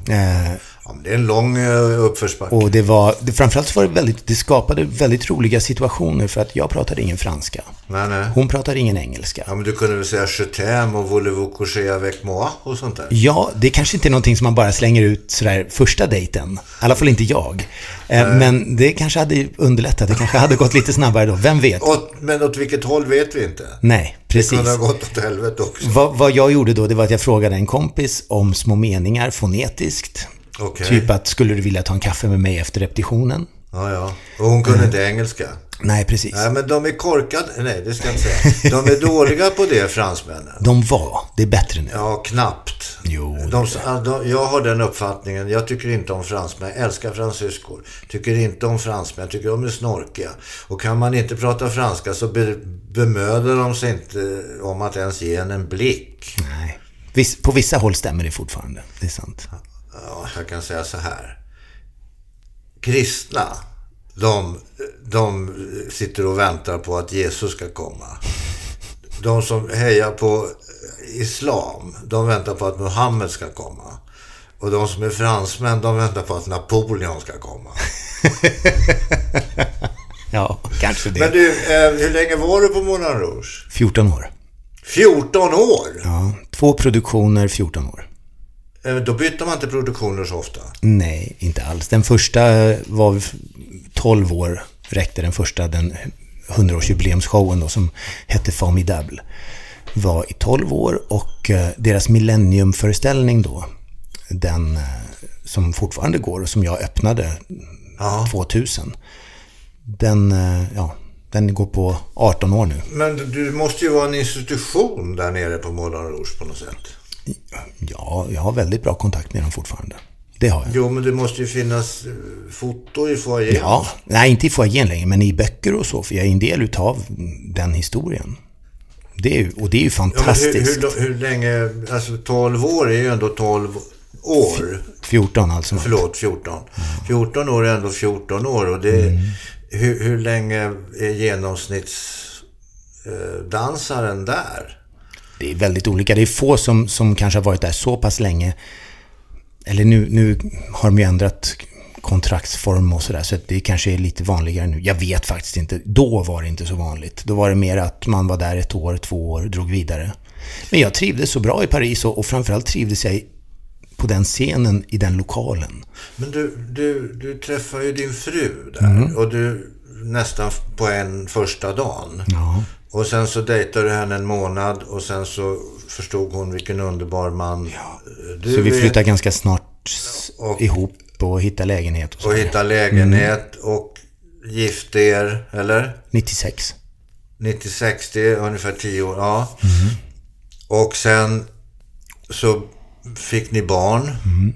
S2: Eh,
S1: Ja, men det är en lång eh, uppförsbacke.
S2: Och det var, det, framförallt så var det väldigt, det skapade väldigt roliga situationer för att jag pratade ingen franska.
S1: Nej, nej.
S2: Hon pratade ingen engelska.
S1: eh, Ja, men du kunde väl säga je t'aime och voulez-vous coucher avec moi och sånt där.
S2: Ja, det kanske inte är någonting som man bara slänger ut sådär första dejten. I alla fall inte jag. Eh, Men det kanske hade underlättat. Det kanske hade gått lite snabbare då. Vem vet?
S1: Åt, men åt vilket håll vet vi inte.
S2: Nej,
S1: Det kunde
S2: precis.
S1: ha gått åt helvete också.
S2: Vad, vad jag gjorde då, det var att jag frågade en kompis om små meningar fonetiskt.
S1: Okej.
S2: Typ att, skulle du vilja ta en kaffe med mig efter repetitionen?
S1: Ja, ja. Och hon kunde inte engelska.
S2: Nej, precis.
S1: Nej, men de är korkade. Nej, det ska jag inte säga. De är dåliga på det, fransmännen.
S2: De var, det är bättre nu.
S1: Ja, knappt.
S2: Jo, det
S1: de, ja, de, jag har den uppfattningen. Jag tycker inte om fransmän. Jag älskar fransyskor. Tycker inte om fransmän. Tycker de är snorkiga. Och kan man inte prata franska så be, bemöder de sig inte om att ens ge en en blick.
S2: Nej. Viss, på vissa håll stämmer det fortfarande. Det är sant.
S1: ja, jag kan säga så här. Kristna, de, de sitter och väntar på att Jesus ska komma. De som hejar på islam, de väntar på att Muhammed ska komma. Och de som är fransmän, de väntar på att Napoleon ska komma.
S2: Ja, kanske
S1: Men
S2: det.
S1: du, eh, hur länge var du på Moulin Rouge?
S2: 14 år.
S1: 14 år?
S2: Ja, två produktioner, 14 år.
S1: Eh, Då bytte man inte produktioner så ofta.
S2: Nej, inte alls. Den första var f- 12 år, räckte den första, den 100-årsjubileumsshowen då som hette Formidable. Var i 12 år och eh, deras millenniumföreställning då, den eh, som fortfarande går och som jag öppnade
S1: Ja.
S2: 2000. Den, eh, ja, den går på 18 år nu.
S1: Men du- du måste ju vara en institution där nere på Moulin Rouge på något sätt.
S2: Ja, jag har väldigt bra kontakt med dem fortfarande. Det har jag.
S1: Jo, men det måste ju finnas eh, foto i foajén.
S2: Ja, nej inte i foajén längre, men i böcker och så, för jag är en del utav den historien. Det är ju, och det är ju
S1: Ja, men hur,
S2: fantastiskt.
S1: hur, hur länge, alltså 12 år är ju ändå 12 år.
S2: 14 alltså.
S1: Förlåt, 14. 14 år är ändå 14 år och det,
S2: Mm.
S1: hur, hur länge är genomsnittsdansaren där?
S2: Det är väldigt olika. Det är få som, som kanske har varit där så pass länge. Eller nu, nu har de ju ändrat kontraktsform och sådär, så att det kanske är lite vanligare nu. Jag vet faktiskt inte. Då var det inte så vanligt. Då var det mer att man var där ett år, två år, drog vidare. Men jag trivdes så bra i Paris och, och framförallt trivdes jag i- på den scenen, i den lokalen.
S1: Men du, du, du träffar ju din fru där
S2: Mm.
S1: och du nästan f- på en första dagen.
S2: Ja.
S1: Och sen så dejtade du henne en månad och sen så förstod hon vilken underbar man ja. du
S2: Så vi
S1: är.
S2: flyttade ganska snart och, ihop och hitta lägenhet och så.
S1: Och hitta lägenhet och gifte er, eller?
S2: 96.
S1: 96, det är ungefär 10 år. Ja.
S2: Mm.
S1: Och sen så fick ni barn.
S2: Mm.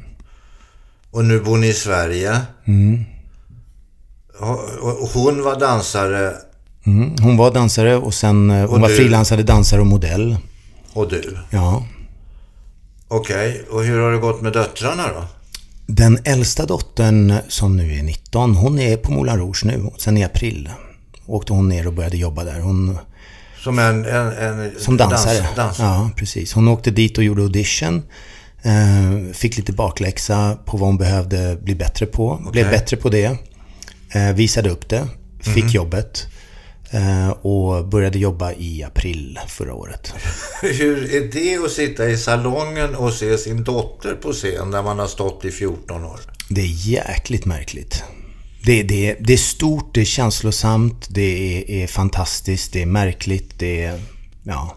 S1: Och nu bor ni i Sverige.
S2: Mm.
S1: Och- och Hon var dansare
S2: Mm. Hon var dansare och sen eh, hon var
S1: du-
S2: frilansande dansare och modell.
S1: och du.
S2: Ja.
S1: Okej, och hur har det gått med döttrarna då?
S2: Den äldsta dottern som nu är 19, hon är på Moulin Rouge nu. Sen i april åkte hon ner och började jobba där. Hon,
S1: Som en... en, en
S2: som dansare.
S1: Dans, dans. [laughs]
S2: Ja, precis. Hon åkte dit och gjorde audition. Eh, fick lite bakläxa på vad hon behövde bli bättre på. Blev bättre på det. Eh, visade upp det. Fick
S1: Mhm.
S2: jobbet. Eh, och började jobba i april förra året.
S1: Hur är det att sitta i salongen och se sin dotter på scen där man har stått i 14 år?
S2: Det är jäkligt märkligt. Det, det, det är stort, det är känslosamt, det är, är fantastiskt, det är märkligt, det är... Ja,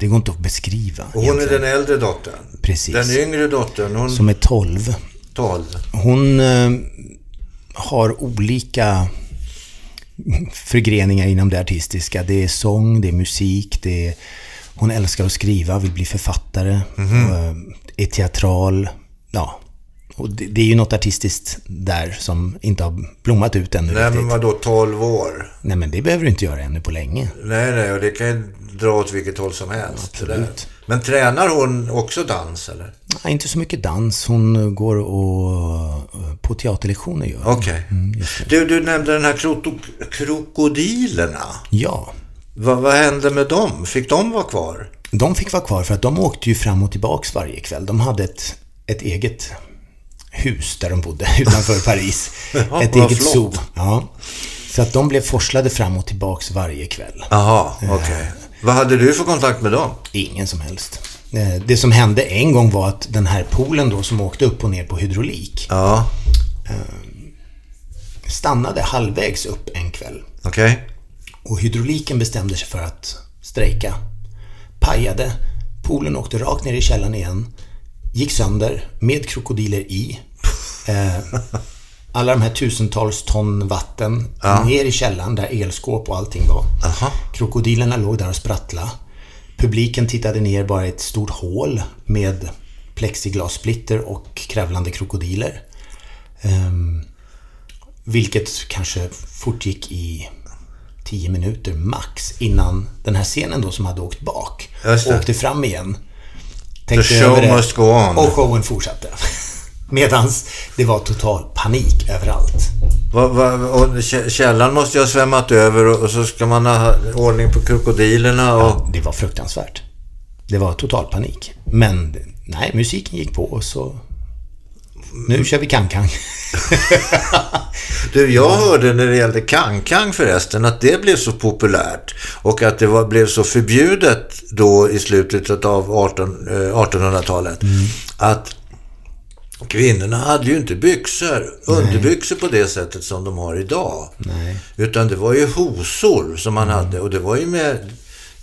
S2: det går inte att beskriva.
S1: Och hon är den äldre dottern.
S2: Precis.
S1: Den yngre dottern, hon
S2: Som är 12.
S1: 12.
S2: Hon eh, har olika förgreningar inom det artistiska. Det är sång, det är musik, det är... Hon älskar att skriva, vill bli författare, eh, är teatral. Ja. Och det, det är ju något artistiskt där som inte har blommat ut ännu
S1: Nej
S2: riktigt.
S1: men vadå, 12 år?
S2: Nej men det behöver du inte göra ännu på länge.
S1: Nej, nej, och det kan ju dra åt vilket håll som helst. det där.
S2: Absolut.
S1: Men tränar hon också dans eller?
S2: Nej, inte så mycket dans. Hon går och, eh, på teaterlektioner gör hon.
S1: Okej. du, du nämnde den här kroto- krokodilerna.
S2: Ja.
S1: Va, vad hände med dem? Fick de vara kvar?
S2: De fick vara kvar för att de åkte ju fram och tillbaks varje kväll. De hade ett, ett eget hus där de bodde [laughs]
S1: [laughs]
S2: utanför Paris.
S1: Jaha,
S2: ett
S1: vad
S2: eget zoo.
S1: flott.
S2: Ja. Så att de blev forslade fram och tillbaks varje kväll.
S1: Jaha, okej. Eh. Vad hade du för kontakt med dem?
S2: Ingen som helst. Eh, Det som hände en gång var att den här poolen då som åkte upp och ner på hydraulik
S1: Ja,
S2: stannade halvvägs upp en kväll.
S1: okej.
S2: Och hydrauliken bestämde sig för att strejka. Pajade. Poolen åkte rakt ner i källaren igen. Gick sönder med krokodiler i. Eh, alla de här tusentals ton vatten ner i källaren där elskåp och allting var.
S1: Aha.
S2: Krokodilerna låg där och sprattla. Publiken tittade ner bara i ett stort hål med plexiglassplitter och kravlande krokodiler. Ehm, vilket kanske fortgick i 10 minuter max innan den här scenen då som hade åkt bak
S1: Just det.
S2: åkte fram igen.
S1: The
S2: Tänkte
S1: show
S2: över det.
S1: must go on.
S2: Och showen fortsatte. [laughs] Medans det var total panik överallt.
S1: Va, va, och kä- källan måste ju ha svämmat över och, och så ska man ha ordning på krokodilerna och...
S2: Det var fruktansvärt. Det var total panik. Men nej, musiken gick på och så... Nu kör vi kankan.
S1: Du, jag hörde när det gällde kankang förresten att det blev så populärt och att det var, blev så förbjudet då i slutet av 18, eh, 1800-talet att kvinnorna hade ju inte byxor, underbyxor på det sättet som de har idag. Utan det var ju hosor som man hade och det var ju med,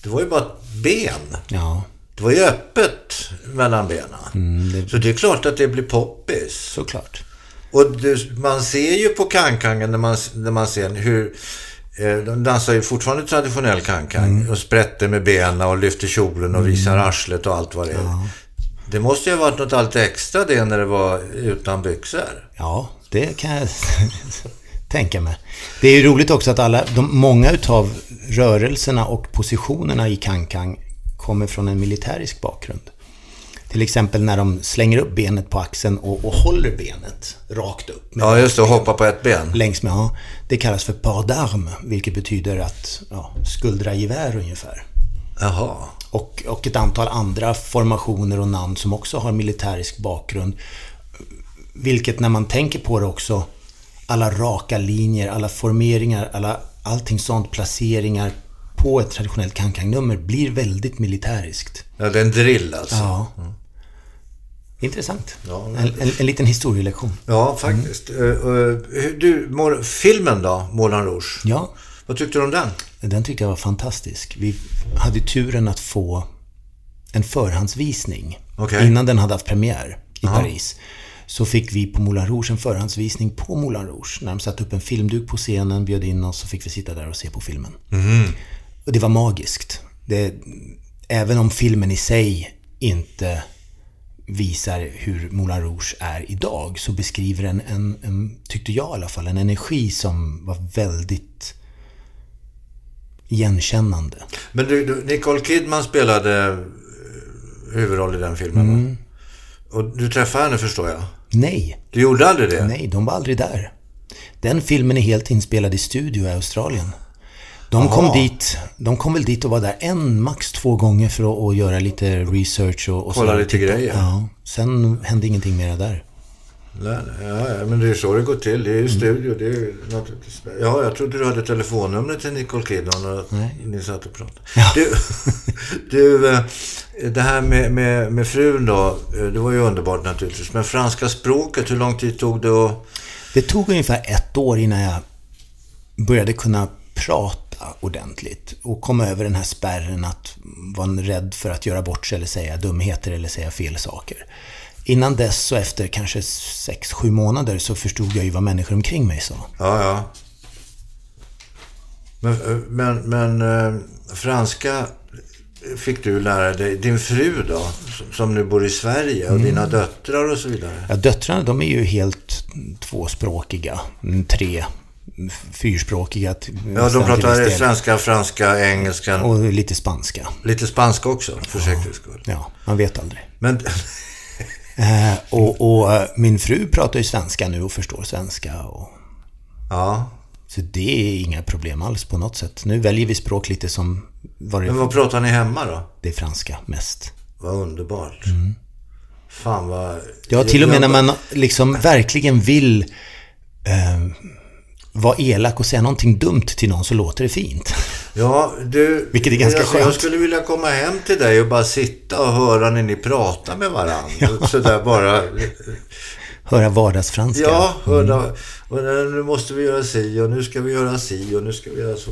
S1: det var ju bara ben.
S2: [laughs] Ja,
S1: Det var ju öppet mellan benen. Så det är klart att det blir poppis.
S2: såklart.
S1: Och du, man ser ju på kankangen när man, när man ser hur... eh, De dansar ju fortfarande traditionell kankang och sprätter med benen och lyfter kjolen och visar arslet och allt vad det är. Det måste ju ha varit något allt extra det när det var utan byxor.
S2: Ja, det kan jag [laughs] tänka mig. Det är ju roligt också att alla, de, många utav rörelserna och positionerna i kankan kommer från en militärisk bakgrund. Till exempel när de slänger upp benet på axeln och, och håller benet rakt upp med
S1: Ja, just det. Och hoppa på ett ben.
S2: längs med. Ja, det kallas för pas d'arme, vilket betyder att ja, skuldra gevär ungefär.
S1: Jaha.
S2: Och, och ett antal andra formationer och namn som också har militärisk bakgrund. Vilket när man tänker på det också, alla raka linjer, alla formeringar, alla, allting sånt, placeringar på ett traditionellt kankangnummer blir väldigt militäriskt.
S1: Ja, det är en drill alltså. Ja,
S2: Ja. Intressant.
S1: Ja,
S2: en, en, en liten historielektion.
S1: faktiskt. Eh, eh, hur- du, Mor- filmen då, Moulin Rouge?
S2: Ja.
S1: Vad tyckte du om den?
S2: Den tyckte jag var fantastisk. Vi hade turen att få en förhandsvisning
S1: Okej.
S2: innan den hade haft premiär i Paris. så fick vi på Moulin Rouge en förhandsvisning på Moulin Rouge. När de satte upp en filmduk på scenen, bjöd in oss och fick vi sitta där och se på filmen. Och det var magiskt. Det, även om filmen i sig inte visar hur Moulin Rouge är idag så beskriver den en, en, tyckte jag i alla fall, en energi som var väldigt igenkännande.
S1: Men du, du, Nicole Kidman spelade eh, huvudroll i den filmen. va? Och du träffade henne förstår jag.
S2: Nej,
S1: Du gjorde aldrig det?
S2: nej, de var aldrig där. Den filmen är helt inspelad i studio i Australien. De kom, dit, de kom väl dit och var där en, max två gånger för att, att göra lite research och, och
S1: Kolla
S2: sådär.
S1: lite grejer.
S2: Ja, sen hände ingenting mer där.
S1: Nej, nej, ja, ja, men det är så det går till. Det är ju studio. Det är ju naturligtvis... Ja, jag trodde du hade telefonnumret till Nicole Kidman och att ni satt och pratade. Du, du, eh, det här med, med, med frun då. eh, Det var ju underbart naturligtvis. Men franska språket, hur lång tid tog det att...
S2: Det tog ungefär ett år innan jag började kunna prata ordentligt och komma över den här spärren att vara rädd för att göra bort sig eller säga dumheter eller säga fel saker. Innan dess och efter kanske 6-7 månader så förstod jag ju vad människor omkring mig sa.
S1: Ja, ja. Men, eh, men, men eh, franska fick du lära dig. Din fru då, som- som nu bor i Sverige
S2: Mm.
S1: och dina döttrar och så vidare.
S2: Ja, döttrarna de är ju helt tvåspråkiga, Mm, tre, f- fyrspråkiga. t-
S1: Ja,
S2: nästan
S1: de
S2: till viss
S1: pratar
S2: del.
S1: svenska, franska, engelska.
S2: Och lite spanska.
S1: Lite spanska också, för säkerhets skull.
S2: Ja, man vet aldrig.
S1: Men, [laughs]
S2: Eh, och, och eh, min fru pratar ju svenska nu och förstår svenska. Och,
S1: ja.
S2: så det är inga problem alls på något sätt. Nu väljer vi språk lite som vad
S1: Men
S2: det,
S1: vad pratar ni hemma då?
S2: det är franska mest.
S1: Vad underbart. Fan vad...
S2: Mm. Ja, till och med
S1: jag-
S2: när man liksom verkligen vill eh, vara elak och säga någonting dumt till någon så låter det fint.
S1: Ja, du...
S2: Vilket är ganska
S1: alltså, Jag
S2: skönt.
S1: skulle vilja komma hem till dig och bara sitta och höra när ni pratar med varandra. Sådär bara...
S2: Höra vardagsfranska.
S1: Ja, höra, och när- nu måste vi göra si och nu ska vi göra si och nu ska vi göra så.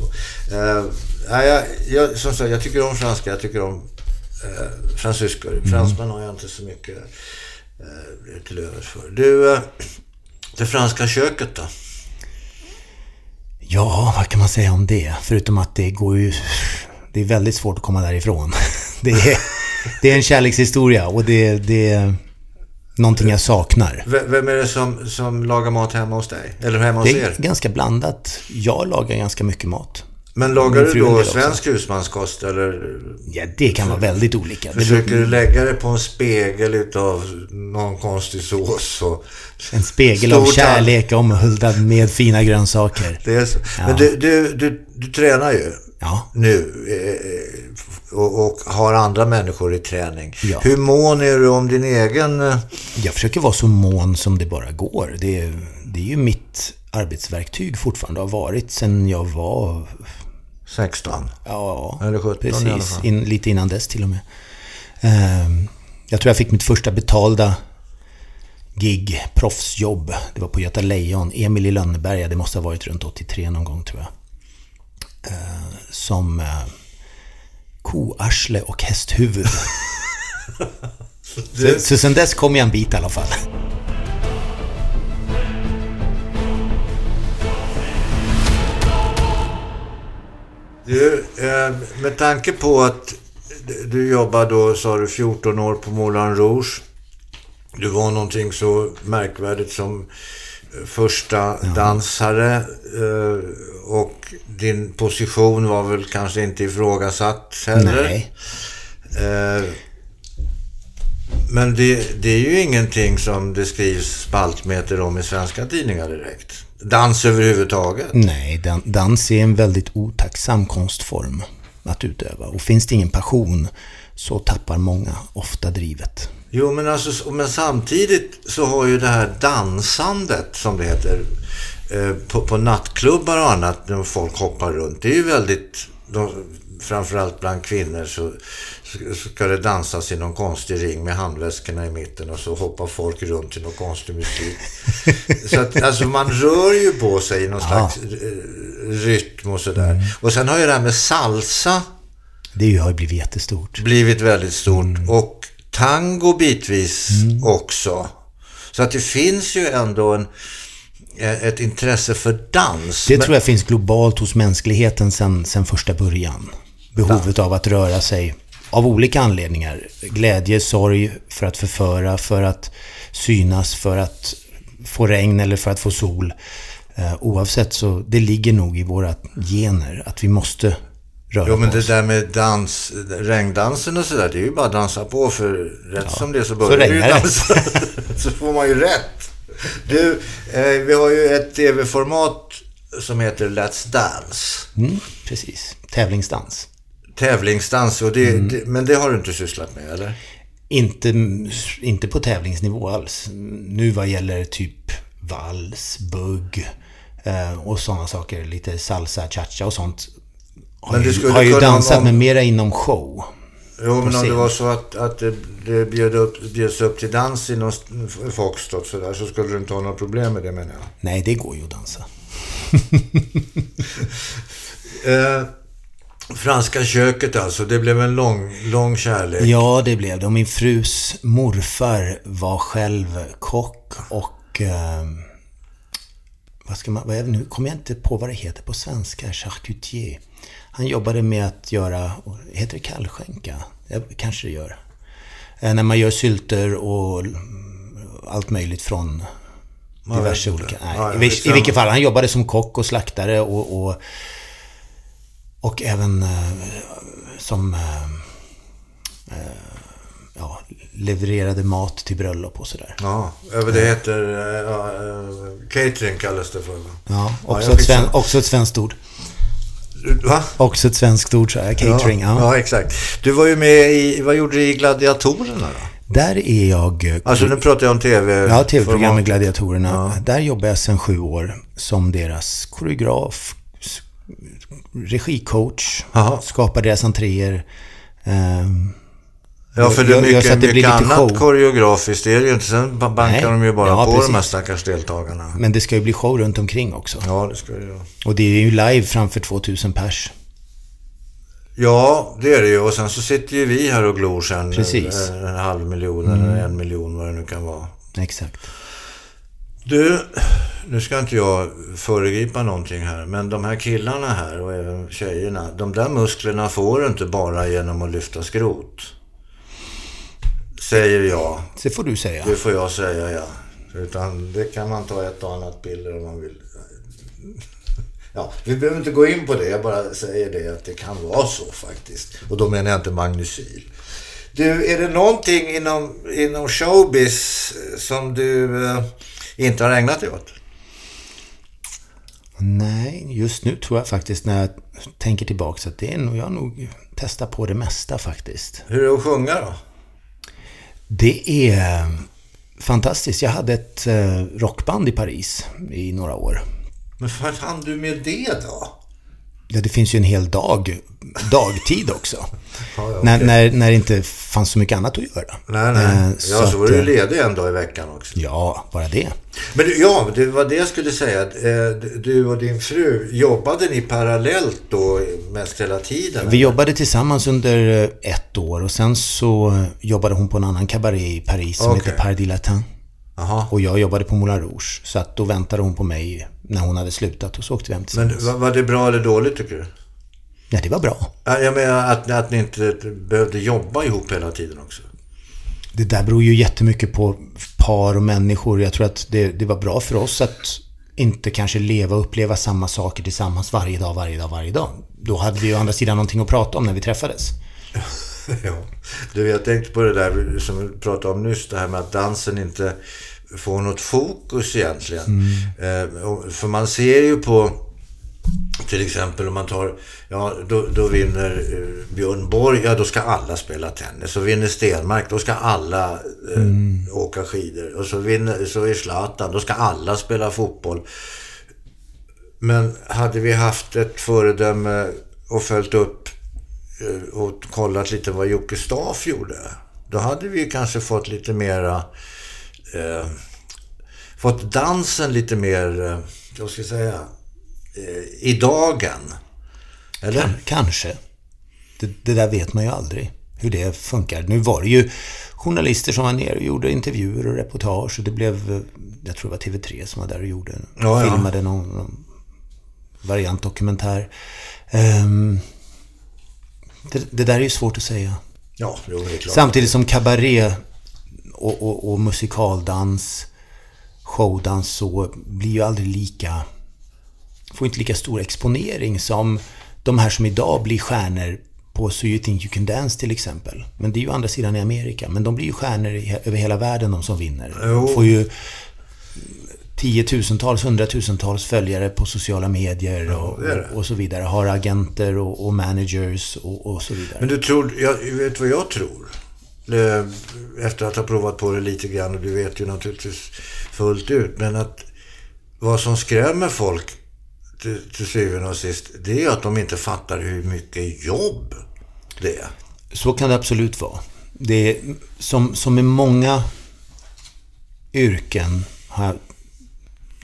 S1: Eh, nej, jag, jag, som sagt, jag tycker om franska, jag tycker om eh, fransyskor.
S2: Mm.
S1: Fransmän har jag inte så mycket eh, till övers för. Du, eh, det franska köket då?
S2: Ja, vad kan man säga om det? Förutom att det går ju... Det är väldigt svårt att komma därifrån. [laughs] Det är, det är en kärlekshistoria och det, det är någonting jag saknar.
S1: V- vem är det som, som lagar mat hemma hos dig? Eller hemma hos
S2: Det är
S1: er?
S2: ganska blandat. Jag lagar ganska mycket mat.
S1: Men lagar
S2: min
S1: du
S2: fru gör
S1: då
S2: det också.
S1: svensk husmanskost eller
S2: Ja, det kan vara väldigt olika. Det beror-
S1: försöker du lägga det på en spegel utav någon konstig sås? Och...
S2: En spegel
S1: Stor
S2: av
S1: tall-
S2: kärlek omhuldad med fina grönsaker.
S1: Det är så. Men du, du, du, du tränar ju
S2: Ja.
S1: nu eh, och, och har andra människor i träning.
S2: Ja.
S1: Hur mån är du om din egen... eh,
S2: Jag försöker vara så mån som det bara går. Det är, det är ju mitt arbetsverktyg fortfarande har varit sen jag var
S1: 16?
S2: Ja,
S1: Eller 17 i alla
S2: precis.
S1: fall.
S2: In, lite innan dess till och med. Ehm, jag tror jag fick mitt första betalda gig, proffsjobb. Det var på Göta Lejon, Emil i Lönneberga. Det måste ha varit runt 83 någon gång tror jag. Ehm, som eh, koarsle
S1: [laughs]
S2: och hästhuvud. så, så sen dess kom jag en bit i alla fall.
S1: Du, eh, med tanke på att du jobbar då, sa du, 14 år på Moulin Rouge. Du var någonting så märkvärdigt som eh, första dansare eh, och din position var väl kanske inte ifrågasatt heller.
S2: Nej.
S1: Eh, Men det, det är ju ingenting som det skrivs spaltmeter om i svenska tidningar direkt. Dans överhuvudtaget.
S2: Nej, dan- dans är en väldigt otacksam konstform att utöva. Och finns det ingen passion så tappar många ofta drivet.
S1: Jo, men, alltså, men samtidigt så har ju det här dansandet, som det heter, eh, på, på nattklubbar och annat, när folk hoppar runt. Det är ju väldigt, de, framförallt bland kvinnor, så så ska det dansas i någon konstig ring med handväskorna i mitten och så hoppar folk runt till någon konstig musik. så att, alltså, man rör ju på sig i någon slags eh, rytm och sådär. Och sen har ju det här med salsa
S2: Det har ju blivit jättestort. Mm.
S1: blivit väldigt stort. Och tango bitvis också. Så att det finns ju ändå en, eh, ett intresse för dans.
S2: Det tror jag finns globalt hos mänskligheten sedan sen första början. Behovet av att röra sig av olika anledningar. Glädje, sorg, för att förföra, för att synas, för att få regn eller för att få sol. Eh, Oavsett så, det ligger nog i våra gener att vi måste röra
S1: Jo, men
S2: på
S1: det
S2: oss.
S1: där med dans, regndansen och sådär, det är ju bara att dansa på för rätt som det är så börjar du ju
S2: regnar det.
S1: dansa. [laughs] så får man ju rätt. Du, eh, vi har ju ett tv-format som heter Let's Dance.
S2: Mm, precis. Tävlingsdans.
S1: Tävlingsdans, och det,
S2: Mm.
S1: det, men det har du inte sysslat med, eller?
S2: Inte, inte på tävlingsnivå alls. Nu vad gäller typ vals, bugg eh, och sådana saker. Lite salsa, cha-cha och sånt. Har
S1: Men du
S2: ju,
S1: skulle
S2: har ju
S1: kunna
S2: dansat,
S1: någon-
S2: men mera inom show.
S1: Jo, men om det
S2: scen.
S1: var så att, att det, det bjöd upp, bjöds upp till dans i någon st- foxtrot sådär, så skulle du inte ha några problem med det, menar jag.
S2: Nej, det går ju att dansa.
S1: Eh, franska köket alltså, det blev en lång, lång kärlek.
S2: Ja, det blev det. Och min frus morfar var själv kock och... Eh, vad ska man... Vad är det nu? Kommer jag inte på vad det heter på svenska. Charcutier. Han jobbade med att göra... Heter det kallskänka? Ja, kanske det gör. Eh, när man gör sylter och l- allt möjligt från
S1: vet
S2: diverse
S1: inte.
S2: olika... Nej,
S1: Ja, ja,
S2: i, vil- I
S1: skitsamma.
S2: vilket fall, han jobbade som kock och slaktare och... och och även eh, som eh, eh, ja, levererade mat till bröllop och sådär.
S1: Ja, över det heter... eh, ja, eh, catering kallas det för va?
S2: Ja, också,
S1: jag
S2: ett
S1: fick
S2: sven,
S1: så-
S2: också ett svenskt ord.
S1: Va?
S2: Också ett svenskt ord, så här, catering.
S1: Ja,
S2: Ja.
S1: ja, exakt. Du var ju med i... Vad gjorde du i Gladiatorerna då?
S2: Där är jag... eh,
S1: Alltså nu pratar jag om TV.
S2: Ja, tv-programmet
S1: format.
S2: Gladiatorerna. Där jobbar jag sedan sju år som deras koreograf, s- regicoach,
S1: Jaha.
S2: skapar deras entréer. ehm,
S1: Ja, för det
S2: Jag-
S1: är
S2: jag
S1: mycket,
S2: gör så att det
S1: mycket
S2: blir lite
S1: annat
S2: show.
S1: koreografiskt. Det är det ju inte. Sen ba- bankar
S2: Nej.
S1: de ju bara
S2: Ja,
S1: på de här
S2: precis.
S1: stackars deltagarna.
S2: men det ska ju bli show runt omkring också.
S1: Ja, det ska det ju.
S2: Och det är ju live framför 2000 pers.
S1: Ja, det är det ju. Och sen så sitter ju vi här och glor sen.
S2: Precis.
S1: En, en halv miljon eller en miljon, vad det nu kan vara.
S2: Exakt.
S1: Du, nu ska inte jag föregripa någonting här, men de här killarna här och även tjejerna, de där musklerna får du inte bara genom att lyfta skrot. Säger jag.
S2: Det får du säga.
S1: Det får jag säga, ja. Utan det kan man ta ett och annat piller om man vill. Ja, vi behöver inte gå in på det, jag bara säger det att det kan vara så faktiskt. Och då menar jag inte magnecyl. Du, är det någonting inom, inom showbiz som du eh, inte har ägnat dig åt?
S2: Nej, just nu tror jag faktiskt när jag tänker tillbaka att det är nog, jag har nog testat på det mesta faktiskt.
S1: Hur är det att sjunga då?
S2: Det är fantastiskt. Jag hade ett eh, rockband i Paris i några år.
S1: Men vad hann du med det då?
S2: Ja, det finns ju en hel dag, dagtid också.
S1: [laughs] ja,
S2: när, när, när det inte fanns så mycket annat att göra.
S1: Nej, nej.
S2: Eh,
S1: ja, så var du
S2: att,
S1: ju
S2: eh,
S1: ledig en dag i veckan också.
S2: Ja, bara det.
S1: Men du, ja, det var det jag skulle säga. att, eh, Du och din fru, jobbade ni parallellt då mest hela tiden?
S2: Vi jobbade tillsammans under eh, ett år och sen så eh, jobbade hon på en annan cabaret i Paris som
S1: Okej.
S2: heter Par du Latin.
S1: Jaha.
S2: Och jag jobbade på Moulin Rouge. Så att då väntade hon på mig när hon hade slutat och så åkte vi hem
S1: Men
S2: tillsammans.
S1: va- var det bra eller dåligt tycker du?
S2: Ja, det var bra.
S1: Ja, Jag menar att, att ni inte behövde jobba ihop hela tiden också.
S2: Det där beror ju jättemycket på par och människor. Jag tror att det, det var bra för oss att inte kanske leva och uppleva samma saker tillsammans varje dag, varje dag, varje dag. Då hade vi ju å andra sidan någonting att prata om när vi träffades.
S1: [laughs] ja. Du, jag tänkte på det där som vi pratade om nyss, det här med att dansen inte får något fokus egentligen. Eh, och- för man ser ju på till exempel om man tar, ja då, då vinner eh, Björn Borg, ja då ska alla spela tennis. Och vinner Stenmark, då ska alla eh, åka skidor. Och så, vinner, så är Zlatan, då ska alla spela fotboll. Men hade vi haft ett föredöme och följt upp eh, och kollat lite vad Jocke Staaf gjorde. Då hade vi ju kanske fått lite mera... Eh, fått dansen lite mer, eh, jag ska jag säga, eh, i dagen. Eller?
S2: Kanske. Det, det där vet man ju aldrig. hur det funkar. Nu var det ju journalister som var nere och gjorde intervjuer och reportage och det blev, jag tror det var TV3 som var där och gjorde,
S1: Ja, ja.
S2: filmade någon, någon variantdokumentär. Ehm, det, det där är ju svårt att säga.
S1: Ja, jo, det är klart.
S2: Samtidigt som kabaré och, och, och musikaldans, showdans så blir ju aldrig lika... Får inte lika stor exponering som de här som idag blir stjärnor på So You Think You Can Dance till exempel. Men det är ju å andra sidan i Amerika. Men de blir ju stjärnor i, över hela världen de som vinner.
S1: Jo.
S2: De får ju tiotusentals, hundratusentals följare på sociala medier och,
S1: det är det.
S2: och, och så vidare. Har agenter och, och managers och, och så vidare.
S1: Men du tror, jag, vet vad jag tror? Eh, Efter att ha provat på det lite grann, och du vet ju naturligtvis fullt ut, men att vad som skrämmer folk till, till syvende och sist, det är att de inte fattar hur mycket jobb det är.
S2: Så kan det absolut vara. Det är, som, som i många yrken, har, jag-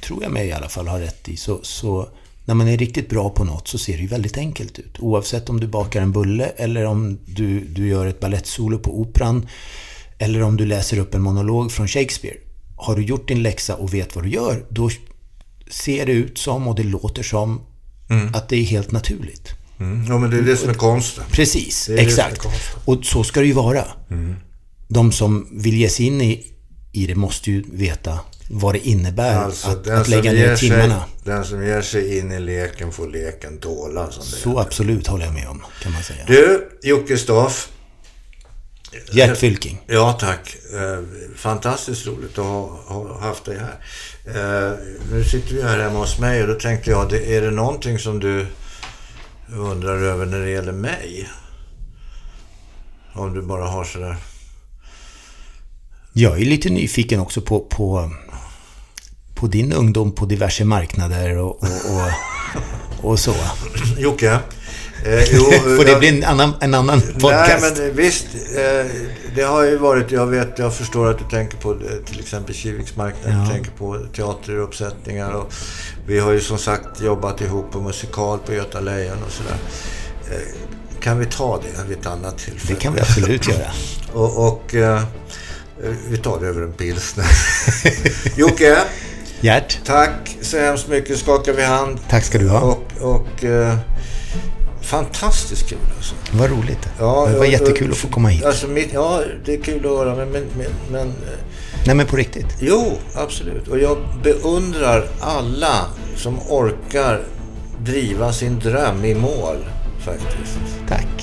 S2: tror jag mig i alla fall har rätt i, så, så när man är riktigt bra på något så ser det ju väldigt enkelt ut. Oavsett om du bakar en bulle eller om du, du gör ett ballettsolo på operan eller om du läser upp en monolog från Shakespeare. Har du gjort din läxa och vet vad du gör, då ser det ut som och det låter som att det är helt naturligt.
S1: Ja, men det är det som är konsten.
S2: Precis,
S1: är det
S2: exakt.
S1: som är konstigt. Mm.
S2: Och så ska det ju vara. De som vill ge sig in i, i det måste ju veta vad det innebär
S1: Alltså,
S2: att,
S1: den,
S2: att
S1: som
S2: lägga
S1: ger
S2: ner
S1: sig,
S2: timmarna.
S1: den som ger sig in i leken får leken tåla, som det är.
S2: Så absolut håller jag med om, kan man säga.
S1: Du, Jocke Staff.
S2: Gert Fylking.
S1: Ja, tack. Eh, Fantastiskt roligt att ha, ha haft dig här. Eh, Nu sitter vi här hemma hos mig och då tänkte jag, det- är det någonting som du undrar över när det gäller mig? Om du bara har sådär... [clears throat]
S2: Jag är lite nyfiken också på, på, på din ungdom på diverse marknader och, och,
S1: [laughs]
S2: och, och så.
S1: Jocke? Eh, jo,
S2: [laughs] Får det
S1: jag-
S2: bli en annan, en annan
S1: Nej,
S2: podcast?
S1: men visst. Eh, det har ju varit, jag vet, jag förstår att du tänker på eh, till exempel Kiviks marknad, du tänker på teateruppsättningar och vi har ju som sagt jobbat ihop på musikal på Göta Lejon och sådär. Eh, kan vi ta det vid ett annat tillfälle?
S2: Det kan vi
S1: [laughs]
S2: absolut göra.
S1: Och, och eh, vi tar det över en
S2: [laughs]
S1: pilsner. Jocke,
S2: Gert,
S1: tack så hemskt mycket. Skakar vi hand.
S2: tack ska du ha.
S1: Och, och eh, fantastiskt kul alltså.
S2: Vad roligt.
S1: Ja,
S2: Det var
S1: jag-
S2: jättekul att få komma hit.
S1: Alltså mitt, ja, det är kul att höra, men, men, men, men eh,
S2: Nej, men på riktigt.
S1: jo, absolut. Och jag beundrar alla som orkar driva sin dröm i mål, faktiskt.
S2: Tack.